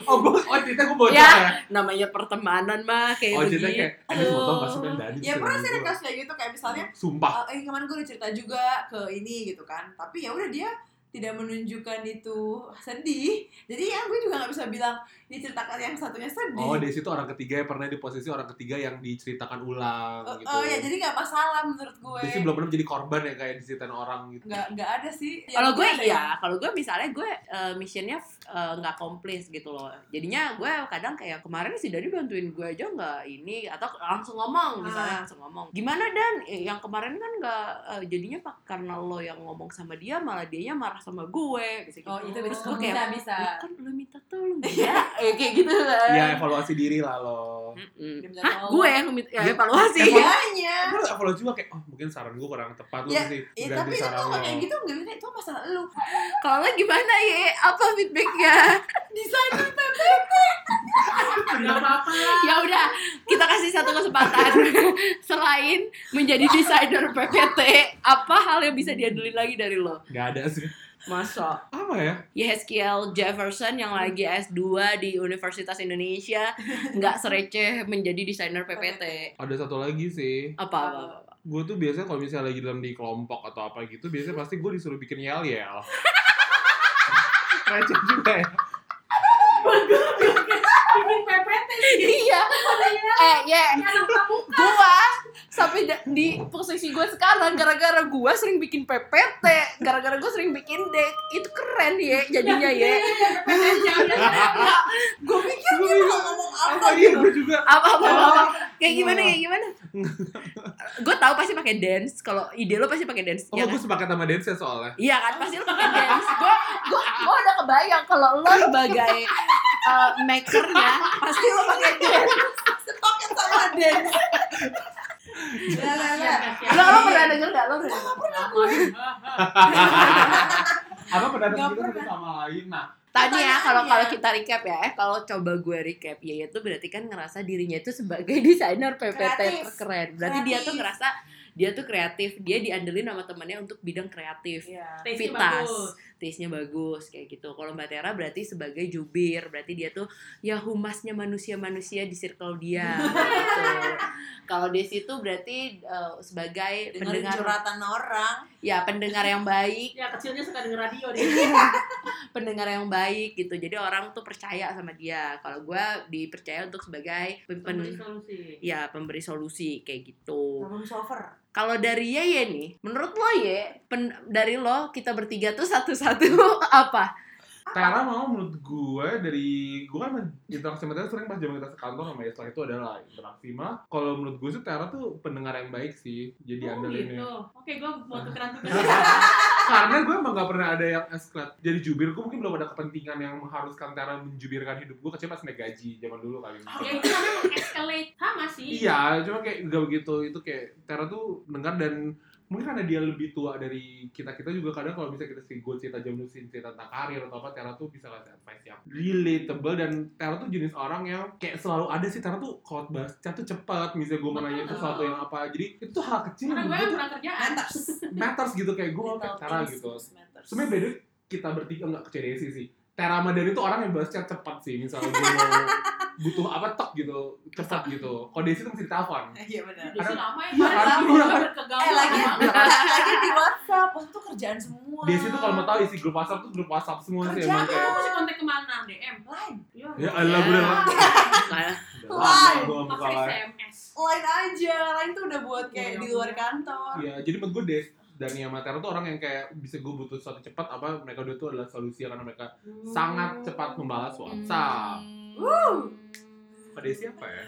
Oh gue oh cerita gue bocor
Ya.
ya.
namanya pertemanan mah kayak
Oh
begitu.
jadi kayak ada foto nggak sih dari
Ya pernah sih ada kasus kayak gitu kayak misalnya
Sumpah.
Eh, eh kemarin gue udah cerita juga ke ini gitu kan tapi ya udah dia tidak menunjukkan itu sedih jadi ya gue juga nggak bisa bilang diceritakan yang satunya sedih Eh,
Oh Desi itu orang ketiga yang pernah di posisi orang ketiga yang diceritakan ulang
Eh,
gitu.
eh, ya jadi nggak masalah menurut gue
Desi belum pernah menjadi korban ya kayak diceritain orang gitu.
nggak nggak ada sih Ya,
kalau gue
mungkin ada yang-
iya kalau gue misalnya gue eh, missionnya eh, nggak komplit gitu loh jadinya gue kadang kayak kemarin si Dani bantuin gue aja nggak ini atau langsung ngomong
Ah.
misalnya langsung ngomong gimana dan Eh, yang kemarin kan nggak eh, jadinya pak karena lo yang ngomong sama dia malah dianya marah sama gue bisa gitu
oh itu
Terus
bisa
gue
bisa
kayak,
bisa
"Lah, kan lo minta tolong ya Eh, kayak gitu kan
Ya evaluasi diri lah lo.
Hmm.
Mm-mm.
Dia minta
Hah,
tolong.
gue yang minta ya, evaluasi
Dianya.
Gue evaluasi juga kayak oh mungkin saran gue kurang tepat lo
Ya,
sih.
Ya,
Ganti
tapi itu
saran
kalau
lo.
kayak gitu nggak bisa itu masalah lu
kalau lo gimana ya apa feedbacknya
desain
Gak ah, apa-apa lah
ya udah kita kasih satu kesempatan selain menjadi desainer PPT apa hal yang bisa diandelin lagi dari lo
Gak ada sih.
masa
Apa ya?
Yehezkiel Jefferson yang lagi S2 di Universitas Indonesia nggak sereceh menjadi desainer PPT
Ada satu lagi sih.
apa apa, apa.
Gue tuh biasanya kalau misalnya lagi dalam di kelompok atau apa gitu, biasanya pasti gue disuruh bikin yel yel. Receh juga ya.
Bikin PPT
iya eh ya gua sampai da- di posisi gue sekarang gara-gara gua sering bikin PPT gara-gara gue sering bikin deck itu keren ya
Iya,
jadinya ya
PPT
iya.
Iya,
jangan
gue pikir
Gue
dia
bingung.
mau ngomong apa
Apa iya
gitu
gue juga.
apa apa apa, apa. kayak
Wah.
gimana kayak gimana gue tahu pasti pakai dance kalau ide lo pasti pakai dance
Iya,
Oh,
ya
gue
kan?
sepakat sama dance soalnya.
Iya kan pasti lo pakai dance gue gue gue udah kebayang kalau lo sebagai eh, makernya pasti lo pakai dance.
Sepaket sama dance.
Iya,
Ya, ya, ya.
Iya.
Lo, lo pernah denger gak? Lo pernah denger?
apa pendapat kita
Nggak
satu
Iya.
pernah.
sama lain nah
Tadi ya
Pertanyaannya.
kalau kalau kita recap ya, eh, kalau coba gue recap ya itu berarti kan ngerasa dirinya itu sebagai desainer PPT
Kreatif.
keren. Berarti dia tuh
Kreatif.
ngerasa dia tuh kreatif, dia diandelin sama temennya untuk bidang kreatif.
Iya.
Vitas, taste-nya bagus kayak gitu. Kalau Mbak Tera berarti sebagai jubir, berarti dia tuh ya humasnya manusia-manusia di circle dia. gitu. Kalau Desi tuh berarti eh, sebagai
Dengerin
pendengar
curhatan orang.
ya pendengar yang baik
Ya kecilnya suka denger radio deh.
pendengar yang baik gitu jadi orang tuh percaya sama dia kalau gue dipercaya untuk sebagai pemimpin
Pemberi solusi.
ya pemberi solusi kayak gitu
Problem solver.
kalau dari Yeye nih menurut lo ye pen- dari lo kita bertiga tuh satu-satu apa
Tara mau menurut gue dari gue kan men- interaksi sama Tara sering pas zaman kita sekantor sama ya setelah itu adalah interaksi mah kalau menurut gue sih Tara tuh pendengar yang baik sih jadi
Oh,
andalinnya
gitu. Oke, gue mau tukeran tugas.
karena gue emang gak pernah ada yang esclat jadi jubir gue mungkin belum ada kepentingan yang mengharuskan Tara menjubirkan hidup gue kecuali pas naik gaji zaman dulu kali
ya itu namanya meng-escalate sama sih.
Iya, cuma kayak gak begitu. Itu kayak Tera tuh dengar dan mungkin karena dia lebih tua dari kita kita juga kadang kalau bisa kita sih gue cerita jam dulu cerita tentang karir atau apa Tera tuh bisa kasih advice yang relatable dan Tera tuh jenis orang yang kayak selalu ada sih Tera tuh kalau bahas chat tuh cepat misalnya gue mau nanya
Betul.
sesuatu yang apa jadi itu tuh hal kecil
Karena
yang
gue
gue
kan
tuh
kurang kerjaan.
Matters.
matters gitu kayak gue mau
Mental
kayak Tera
things
gitu
matters.
sebenarnya beda kita bertiga nggak ke CDC sih Tera sama Dani tuh orang yang bahas chat cepat sih misalnya gue mau butuh apa tok gitu cepat gitu kalau Desi tuh mesti ditelepon
Iya benar.
Desi lama ya.
Iya, kan?
padahal gue keganggu
Eh lagi,
sama-
lagi di WhatsApp, waktu itu kerjaan semua.
Desi tuh kalau mau tahu isi grup WhatsApp tuh grup WhatsApp semua sih emang
Kamu
kayak
mesti kontak kemana? DM?
Line,
Iya.
Ya Allah, gue udah udah lama
Wah,
gue gak buka
Pakai
live.
SMS.
line aja, line tuh udah buat kayak di luar kantor.
Iya, jadi menurut gue Des dan Matera tuh orang yang kayak bisa gue butuh sesuatu cepat apa mereka dua tuh adalah solusi karena mereka
Hmm.
sangat cepat membalas WhatsApp.
Wuh.
Kok Desi apa ya?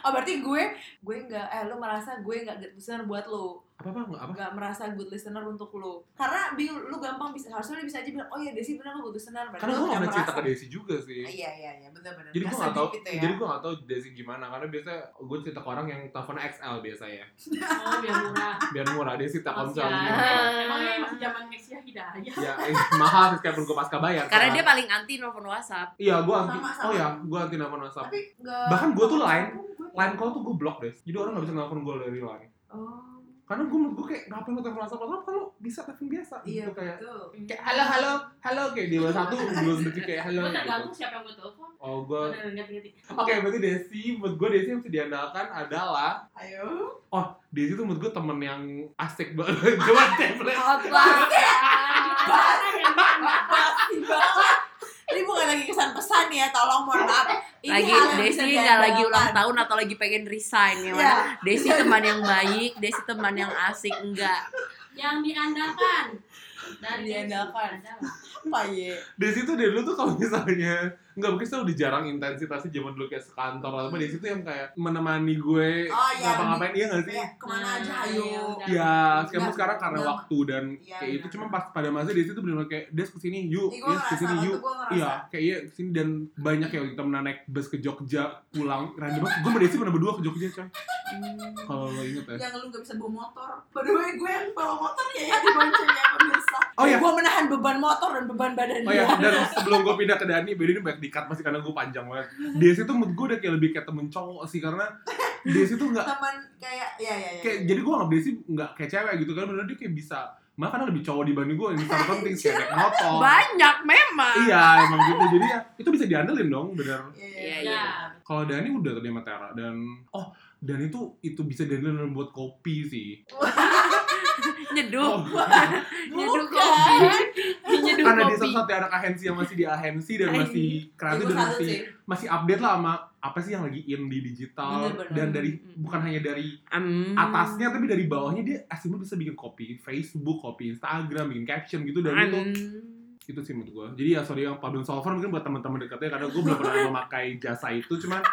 Oh berarti gue, gue nggak, eh lu merasa gue nggak good listener buat lu,
Apa apa nggak apa?
nggak merasa good listener untuk lu. Karena bingung, lu gampang bisa, harusnya lu bisa aja bilang, oh iya Desi benar lu good listener. Berarti
Karena
lu
gue gak
nggak
pernah cerita
merasa.
ke Desi juga sih.
Iya iya iya, benar-benar.
Jadi gue
Nggak
gak tau,
sedikit ya.
jadi gue gak tau Desi gimana Karena biasanya gue cerita ke orang yang teleponnya XL biasanya
Oh, biar murah.
Biar murah, Desi telfon
Masih
soalnya
ada. Emangnya masih zaman Nexia Hidayah.
Ya, eh, mahal sih sekalipun gue pasca bayar
karena
kan.
dia paling anti nelfon WhatsApp
Iya, gue anti,
Sama, sama.
oh ya, gue anti nelfon WhatsApp
Tapi nggak.
Bahkan gue tuh line,
Gue-
line call tuh gue blok deh jadi orang gak bisa nelfon gue dari line
Oh,
karena gue menurut gue kayak ngapain lo telepon WhatsApp WhatsApp kalau bisa telepon biasa
iya
gitu kayak
betul.
kayak halo halo halo kayak di luar satu gue sendiri kayak halo
Gue
gitu
tergantung siapa yang gue telepon.
oh
Gue
gue
udah ngerti-ngerti.
oke berarti Desi menurut gue Desi yang bisa diandalkan adalah
Ayo.
Desi tuh menurut gue temen yang asik banget coba template
Oh,
apa
Pasti banget. Ini bukan lagi kesan pesan ya, tolong mohon maaf. Ini
lagi
hal yang bisa
Desi Iya, nggak lagi
diandalkan.
ulang tahun atau lagi pengen resign ya
Ya,
Desi teman yang baik Desi teman yang asik enggak
Yang diandalkan. Dari
Diandalkan.
Adalah.
apa ya?
Desi tuh dari dulu tuh kalau misalnya nggak mungkin tuh udah jarang intensitasnya zaman dulu kayak sekantor atau apa Desi tuh yang kayak menemani gue
Oh iya.
ngapa-ngapain iya gak sih
Ya, kemana aja ayo.
Nah,
Ya, sekarang
Enggak,
sekarang karena
Iya, enggak.
waktu dan
Iya,
kayak itu
benar.
cuma pas pada masa di situ benar kayak des kesini yuk,
Ini gue
des
ngerasa,
kesini
waktu
yuk.
gue ngerasa.
Iya, kayak iya kesini dan banyak yang kita pernah naik bus ke Jogja pulang. Random banget. Gue sama Desi pernah berdua ke Jogja coy. Kalau lo inget ya.
Yang lu gak bisa bawa motor. By the way, gue yang bawa motor ya, ya dibonceng ya pemirsa.
Oh iya.
Gue menahan beban motor dan beban badan
Oh
dia.
ya, dan sebelum gue pindah ke Dani, beda ini banyak dikat masih karena gue panjang banget. Desi tuh menurut gue udah kayak lebih kayak temen cowok sih karena Desi tuh nggak
Teman kayak, ya ya ya.
kayak jadi gue nggak Desi nggak kayak cewek gitu kan bener dia kayak bisa malah karena lebih cowok dibanding gue yang bisa penting kayak naik motor.
banyak memang
Oh. Iya, emang gitu. Jadi ya itu bisa diandelin dong, bener.
Iya,
Iya,
iya.
iya.
Ya,
Kalau Dani udah tadi sama Tera dan oh dan itu itu bisa Dani dalam buat kopi sih.
nyeduh
Oh,
Bukan.
nyeduh kopi nyeduh
karena dia
kopi
satu-satunya anak ahensi yang masih di ahensi dan masih kreatif
Gue
dan
salut
masih
sih.
masih update lah sama apa sih yang lagi in di digital
Bener-bener.
dan dari
Mm.
bukan hanya dari
Hmm.
atasnya tapi dari bawahnya dia aslinya bisa bikin kopi Facebook, kopi Instagram, bikin caption gitu dan itu
Hmm.
itu sih menurut gue jadi ya sorry yang problem solver mungkin buat teman-teman dekatnya karena gue belum pernah memakai jasa itu cuman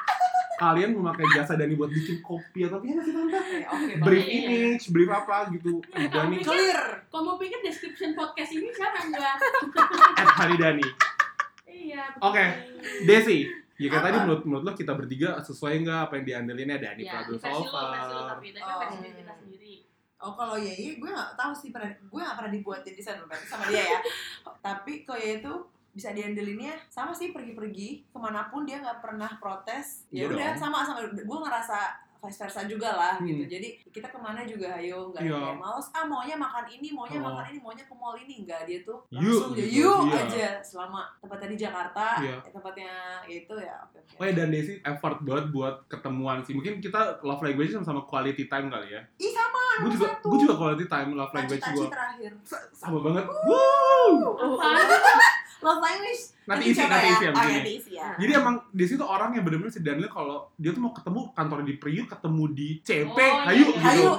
kalian memakai jasa Dani buat bikin kopi atau apa ya sih Tante?
Oke, Oke,
brief
Iya.
image brief apa gitu
Iya,
Dani
tapi-
clear.
Kok mau pikir description podcast ini siapa enggak?
at Hari Dani.
Iya. betul.
Oke. Desi, ya kayak tadi menurut menurut lo kita bertiga sesuai nggak apa yang diandelinnya Dani
Ya,
Pradu
ini versi lo, versi lo
Solvar.
tapi tapi versi
Oh.
diri kita sendiri.
Oh kalau Yeye gue gak tahu sih pernah gue gak pernah dibuatin desain loh sama dia ya. Tapi kalau Yeye itu bisa diandelinnya sama sih pergi-pergi kemanapun dia nggak pernah protes. Ya
Iya
udah
dong.
sama sama gue ngerasa vice versa juga lah
Hmm.
gitu. Jadi kita kemana juga ayo nggak ada
Iya.
yang males. Ah maunya makan ini, maunya
Oh.
makan ini, maunya ke mall ini nggak dia tuh
Yuk,
langsung dia,
gitu.
yuk
Iya.
aja selama tempatnya di Jakarta,
Iya.
eh, tempatnya itu ya oke oke.
Oh ya dan Desi effort banget buat ketemuan sih. Mungkin kita love language sama quality time kali ya.
Ih sama
Gue
nomor
juga
satu.
gue juga quality time love language
Taci-taci
gue
terakhir.
sama banget. Woo!
Oh.
Apaan?
Love language
Nanti isi
coba
nanti
ya.
isi yang
Oh, ya,
begini.
nanti isi ya.
Ah.
Jadi emang di situ orang yang benar-benar si Daniel kalau dia tuh mau ketemu kantor di Priuk, ketemu di CP,
Oh, iya,
ayo
iya.
gitu.
Hayu.
Oh.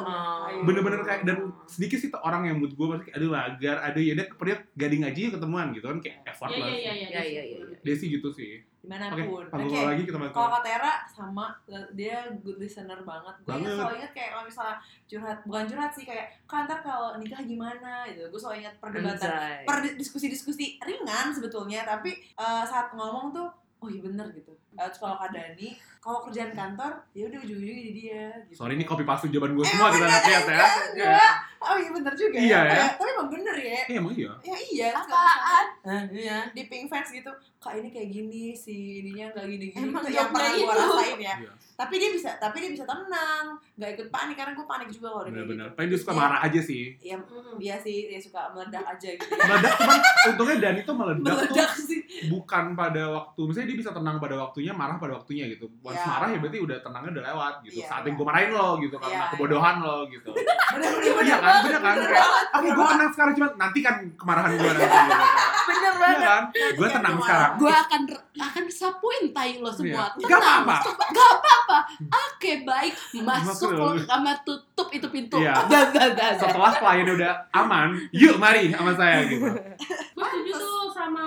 Bener-bener kayak dan sedikit sih tuh orang yang mood gue pasti aduh lagar, aduh ya udah ke Priuk gading aja yuk ketemuan gitu kan kayak effort
Iya
lah.
iya iya
Iya, iya, iya, iya.
Desi gitu sih. Oke,
Dimanapun.
panggung lagi kita bantu.
Kalau Katera sama dia good listener banget. Gue ingat
Banget.
selalu ingat kayak kalau misalnya curhat, bukan curhat sih kayak kantor kalau nikah gimana gitu. Gue selalu ingat perdebatan,
Anjay.
per diskusi-diskusi ringan sebetulnya, tapi eh, saat ngomong tuh oh iya bener gitu. Eh, Terus kalau Kak Dani, kalau kerjaan kantor ya udah ujung-ujungnya di dia. Gitu.
Sorry ini copy paste jawaban gue
Eh,
semua kita
enggak,
lihat
Iya,
ya.
enggak, enggak. Oh iya bener juga.
Iya, ya.
Eh, Tapi emang bener ya.
Eh emang iya.
Ya iya. terus kalau misalnya-
Apaan?
Hah, iya. di pink fans gitu kak ini kayak gini si ininya nggak gini gini
Emang
itu yang
jobnya
pernah gue
itu.
rasain ya
Iya.
tapi dia bisa tapi dia bisa tenang nggak ikut panik karena gue panik juga kalau udah kayak
Bener-bener.
gitu
Paling dia suka marah aja sih.
ya
Mm-mm.
dia sih dia suka meledak aja gitu
Meledak cuman untungnya Dani tuh meledak, tuh
meledak sih
bukan pada waktu misalnya dia bisa tenang pada waktunya marah pada waktunya gitu once
Iya.
marah ya berarti udah tenangnya udah lewat gitu
Iya,
saatnya
iya.
gue marahin lo gitu karena
Iya,
kebodohan lo gitu
bener bener
iya
bener
kan bener kan
bener
kayak
banget,
oke
bener
gue
banget.
tenang sekarang cuma nanti kan kemarahan gue nanti gitu
Bener
iya
banget.
kan gue
kan
tenang
gue
sekarang
Gue akan akan sapuin tai lo semua.
Iya. Gak
Tenang.
apa-apa.
Gak apa-apa. Oke baik.
Masuk
Masuk
lo.
lo ke kamar tutup itu pintu.
Iya.
Dah, dah, dah, dah.
setelah kliennya udah aman yuk mari sama saya gitu
Gue setuju tuh sama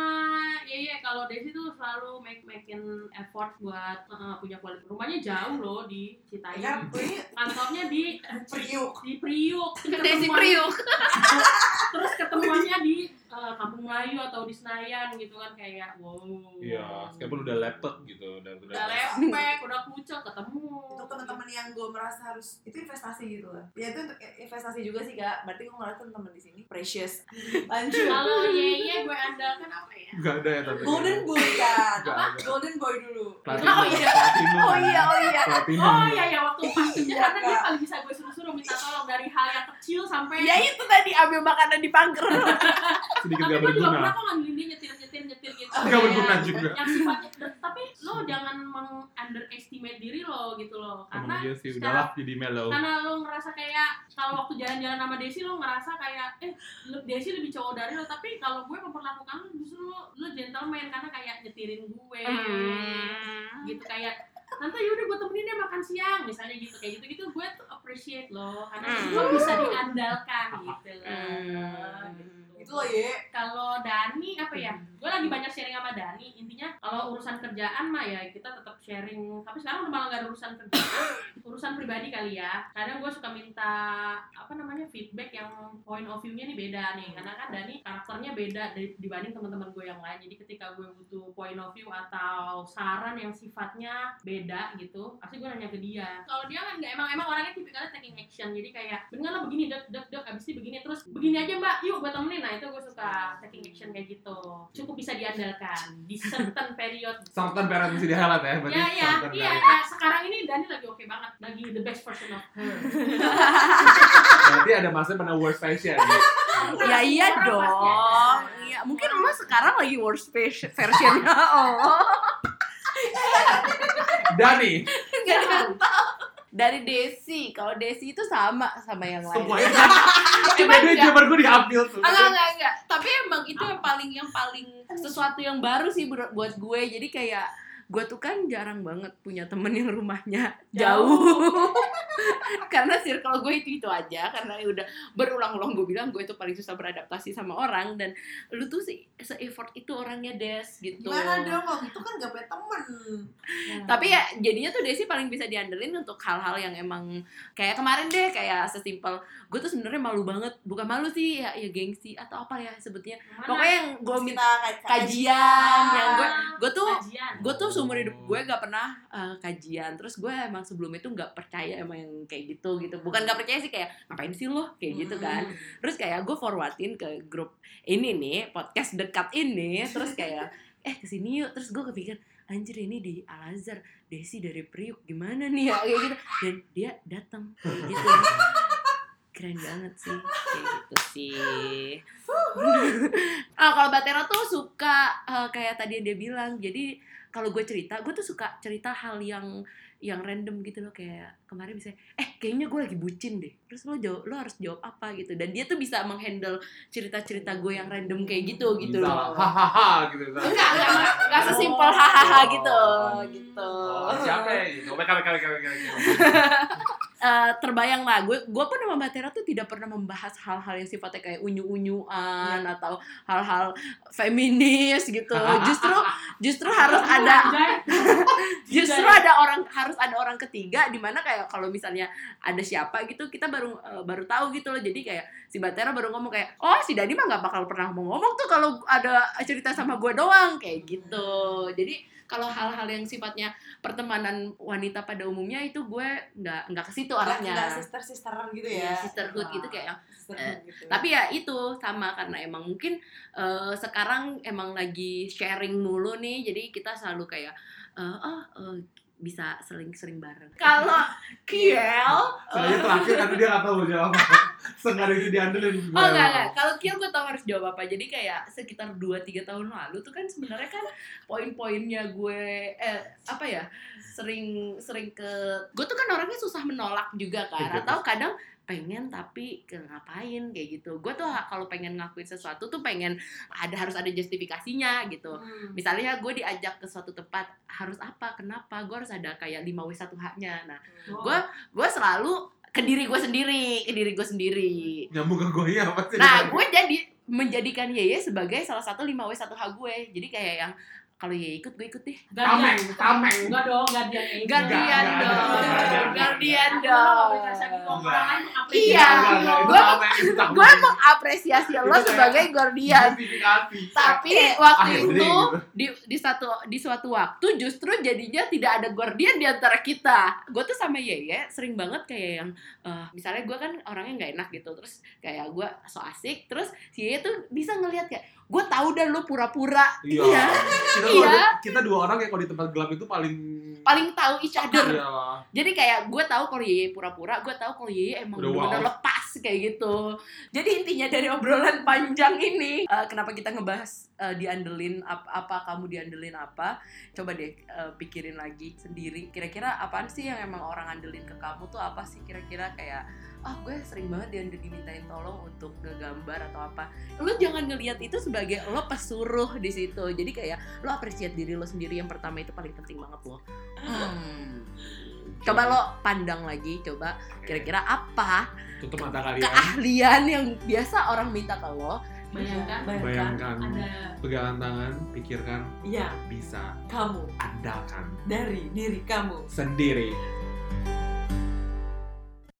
Yeye kalau Desi tuh selalu make making effort buat eh, punya kualitas. Rumahnya jauh loh di
kan
Iya.
Citayam.
ini
Kantornya di
priuk
di Priuk.
Desi
Ketemuan-
Priuk.
Terus ketemuannya di eh, Kampung Melayu atau di Senayan gitu kan kayak wow.
Iya, laptop gitu udah
Udah lepek, udah pucet ketemu.
itu teman-teman yang gue merasa harus itu investasi gitu lah ya itu untuk investasi juga sih kak berarti gue merasa teman-teman di sini precious lanjut
Kalau Yeye iya, gue andalkan apa ya?
gak ada ya tapi
golden boy kan
Gak ada.
golden boy dulu
Platinum, ya,
Oh, iya.
platinum.
Oh iya oh iya.
Platinum.
Oh iya ya waktu pas
Iya,
karena dia
Kak. Iya,
paling bisa gue suruh-suruh minta tolong dari hal yang kecil sampai
Ya itu tadi ambil makanan di pagar.
sedikit
tapi
gak
gue juga
berguna
pernah kok ngandelin dia nyetir nyetir nyetir gitu
Gak
Kayak
berguna juga.
yang sifatnya tapi lo jangan meng underestimate diri lo gitu lo
Emang
karena
iya sih,
secara-
udahlah jadi mellow
Gitu.
karena lo ngerasa kayak kalau waktu jalan-jalan sama Desi lo ngerasa kayak eh lo- Desi lebih cowok dari lo tapi kalau gue memperlakukan lo justru lo, lo gentleman karena kayak nyetirin gue
Hmm.
gitu kayak Tante yaudah gue temenin deh makan siang misalnya gitu kayak gitu gitu gue tuh appreciate lo karena
Hmm.
lo bisa diandalkan gitu
Hmm.
itu loh ya
kalau Dani apa ya gue lagi banyak sharing sama Dani intinya kalau urusan kerjaan mah ya kita tetap sharing tapi sekarang udah malah gak ada urusan kerjaan urusan pribadi kali ya kadang gue suka minta apa namanya feedback yang point of view-nya nih beda nih karena kan Dani karakternya beda dari- dibanding teman-teman gue yang lain jadi ketika gue butuh point of view atau saran yang sifatnya beda gitu pasti gue nanya ke dia kalau dia kan nggak emang emang orangnya tipikalnya taking action jadi kayak bener lah begini dek dek dek abis ini begini terus begini aja mbak yuk gue temenin nah itu gue suka taking action kayak gitu cukup bisa diandalkan di certain period
Sartan parent mesti dihelat ya, berarti
Ya, ya,
sartan
iya,
parent.
ya. sekarang ini Dani lagi oke banget, lagi the best version of her.
Berarti ada masa pernah worst fashion.
Ya iya
Orang
dong.
pasti ada.
Iya, mungkin lo sekarang lagi worst version- versionnya Oh. Allah.
Dani,
Gak tahu. Dari Desi, kalau Desi itu sama sama yang lain.
semuanya kan. Cuma dia
enggak.
jawaban gue diambil tuh.
enggak enggak enggak tapi emang itu yang paling yang paling sesuatu yang baru sih buat buat gue jadi kayak gue tuh kan jarang banget punya temen yang rumahnya jauh, karena circle gue itu itu aja karena ya udah berulang-ulang gue bilang gue itu paling susah beradaptasi sama orang dan lu tuh se, se effort itu orangnya des gitu
Gimana dong, kalau gitu kan gak punya temen
tapi ya jadinya tuh Desi paling bisa diandelin untuk hal-hal yang emang kayak kemarin deh kayak sesimpel gue tuh sebenarnya malu banget bukan malu sih ya, ya gengsi atau apa ya sebutnya
Mana?
pokoknya yang gue
Terus
minta
kita kayak-
kajian yang gue gue Iya. tuh
kajian.
gue tuh seumur hidup gue gak pernah uh, kajian terus gue emang sebelum itu gak percaya emang yang kayak gitu gitu bukan gak percaya sih kayak ngapain sih lo kayak gitu kan
Hmm.
terus kayak gue forwardin ke grup ini nih podcast dekat ini terus kayak eh kesini yuk terus gue kepikir anjir ini di Al Azhar Desi dari Priuk gimana nih ya kayak gitu dan dia datang kayak gitu keren banget sih kayak gitu sih ah Oh, kalau Batera tuh suka eh, kayak tadi yang dia bilang jadi kalau gue cerita gue tuh suka cerita hal yang yang random gitu loh kayak kemarin bisa eh kayaknya gue lagi bucin deh terus lo jawab lo harus jawab apa gitu dan dia tuh bisa menghandle cerita-cerita gue yang random kayak gitu gitu
Bisa lah,
loh
hahaha gitu kan.
enggak enggak
Iya.
enggak, enggak
Oh.
sesimpel hahaha gitu
Oh.
gitu
Oh, siapa ya? Gitu. Mereka, mereka, mereka, mereka, mereka.
Eh, terbayang lah gue gue pun sama Mbak Tera tuh tidak pernah membahas hal-hal yang sifatnya kayak unyu-unyuan atau hal-hal feminis gitu justru justru harus ada
Anjay.
justru ada orang harus ada orang ketiga di mana kayak kalau misalnya ada siapa gitu kita baru eh, baru tahu gitu loh jadi kayak si Batera baru ngomong kayak oh si Dani mah nggak bakal pernah mau ngomong tuh kalau ada cerita sama gue doang kayak gitu jadi kalau hal-hal yang sifatnya pertemanan wanita pada umumnya itu gue nggak nggak ke situ
Gak,
arahnya
gak sister-sisteran gitu ya
Ya, sisterhood gitu kayak
Sisterhood gitu.
tapi ya itu sama karena emang mungkin eh, sekarang emang lagi sharing mulu nih jadi kita selalu kayak eh, oh eh, bisa sering-sering bareng kalau Kiel
Soalnya terakhir tapi dia nggak tahu mau jawab apa. Sengaja itu diandelin.
Oh enggak, enggak. Kalau Kiel gue tau harus jawab apa. Jadi kayak sekitar 2-3 tahun lalu tuh kan sebenarnya kan poin-poinnya gue eh apa ya? sering sering ke gue tuh kan orangnya susah menolak juga kan
Iya,
atau kadang pengen tapi ke ngapain kayak gitu gue tuh ha- kalau pengen ngakuin sesuatu tuh pengen ada harus ada justifikasinya gitu
Hmm.
misalnya gue diajak ke suatu tempat harus apa kenapa gue harus ada kayak lima w satu h nya nah gue gue selalu ke diri gue sendiri ke diri gue sendiri
Nyambung ke gue ya pasti.
Nah, gue jadi menjadikan Yeye sebagai salah satu 5W1H gue. Jadi kayak yang kalau Yeye ikut, gue ikut deh.
Gadian.
tameng.
Enggak dong, Gadian. Eh,
Gantian
enggak,
dong.
enggak, enggak,
Gantian
Aku malah
dong.
apresiasi kok,
Enggak.
orang lain mengapresiasi.
Iya.
Enggak, enggak, itu
Gue-
tameng, itu tameng.
Gue mengapresiasi lo
Itu kayak-
sebagai Gordian.
Justifikasi.
iya. Tapi
Ah,
waktu
ya,
itu
jadi gitu.
di, di satu di suatu waktu justru jadinya tidak ada guardian di antara kita. Gue tuh sama Yeye sering banget kayak yang eh, misalnya gue kan orangnya nggak enak gitu, terus kayak gue so asik, terus si Yeye tuh bisa ngelihat kayak gue tahu dah lo pura-pura.
Iya.
Iya.
Kita, dua-
Iya.
kita dua orang yang kalau di tempat gelap itu paling
Paling tahu each other.
Iya.
Jadi kayak gue tahu kalau Yeye pura-pura, gue tahu kalau Yeye emang
Udah
benar-benar
wow.
lepas kayak gitu. Jadi intinya dari obrolan panjang ini, eh, kenapa kita ngebahas eh, diandelin ap- apa, kamu diandelin apa? Coba deh eh, pikirin lagi sendiri. Kira-kira apaan sih yang emang orang andelin ke kamu tuh apa sih kira-kira kayak ah gue sering banget diandelin dimintain tolong untuk ngegambar atau apa. Lu jangan ngelihat itu sebagai lo pesuruh di situ. Jadi kayak lo apresiat diri lo sendiri yang pertama itu paling penting banget lo. Hmm. Coba lo pandang lagi, coba kira-kira apa
tutup mata kalian.
keahlian yang biasa orang minta ke lo.
Bayangkan
Bayangkan,
ada
pegangan tangan, pikirkan,
Iya,
bisa
kamu
andalkan
dari diri kamu
sendiri.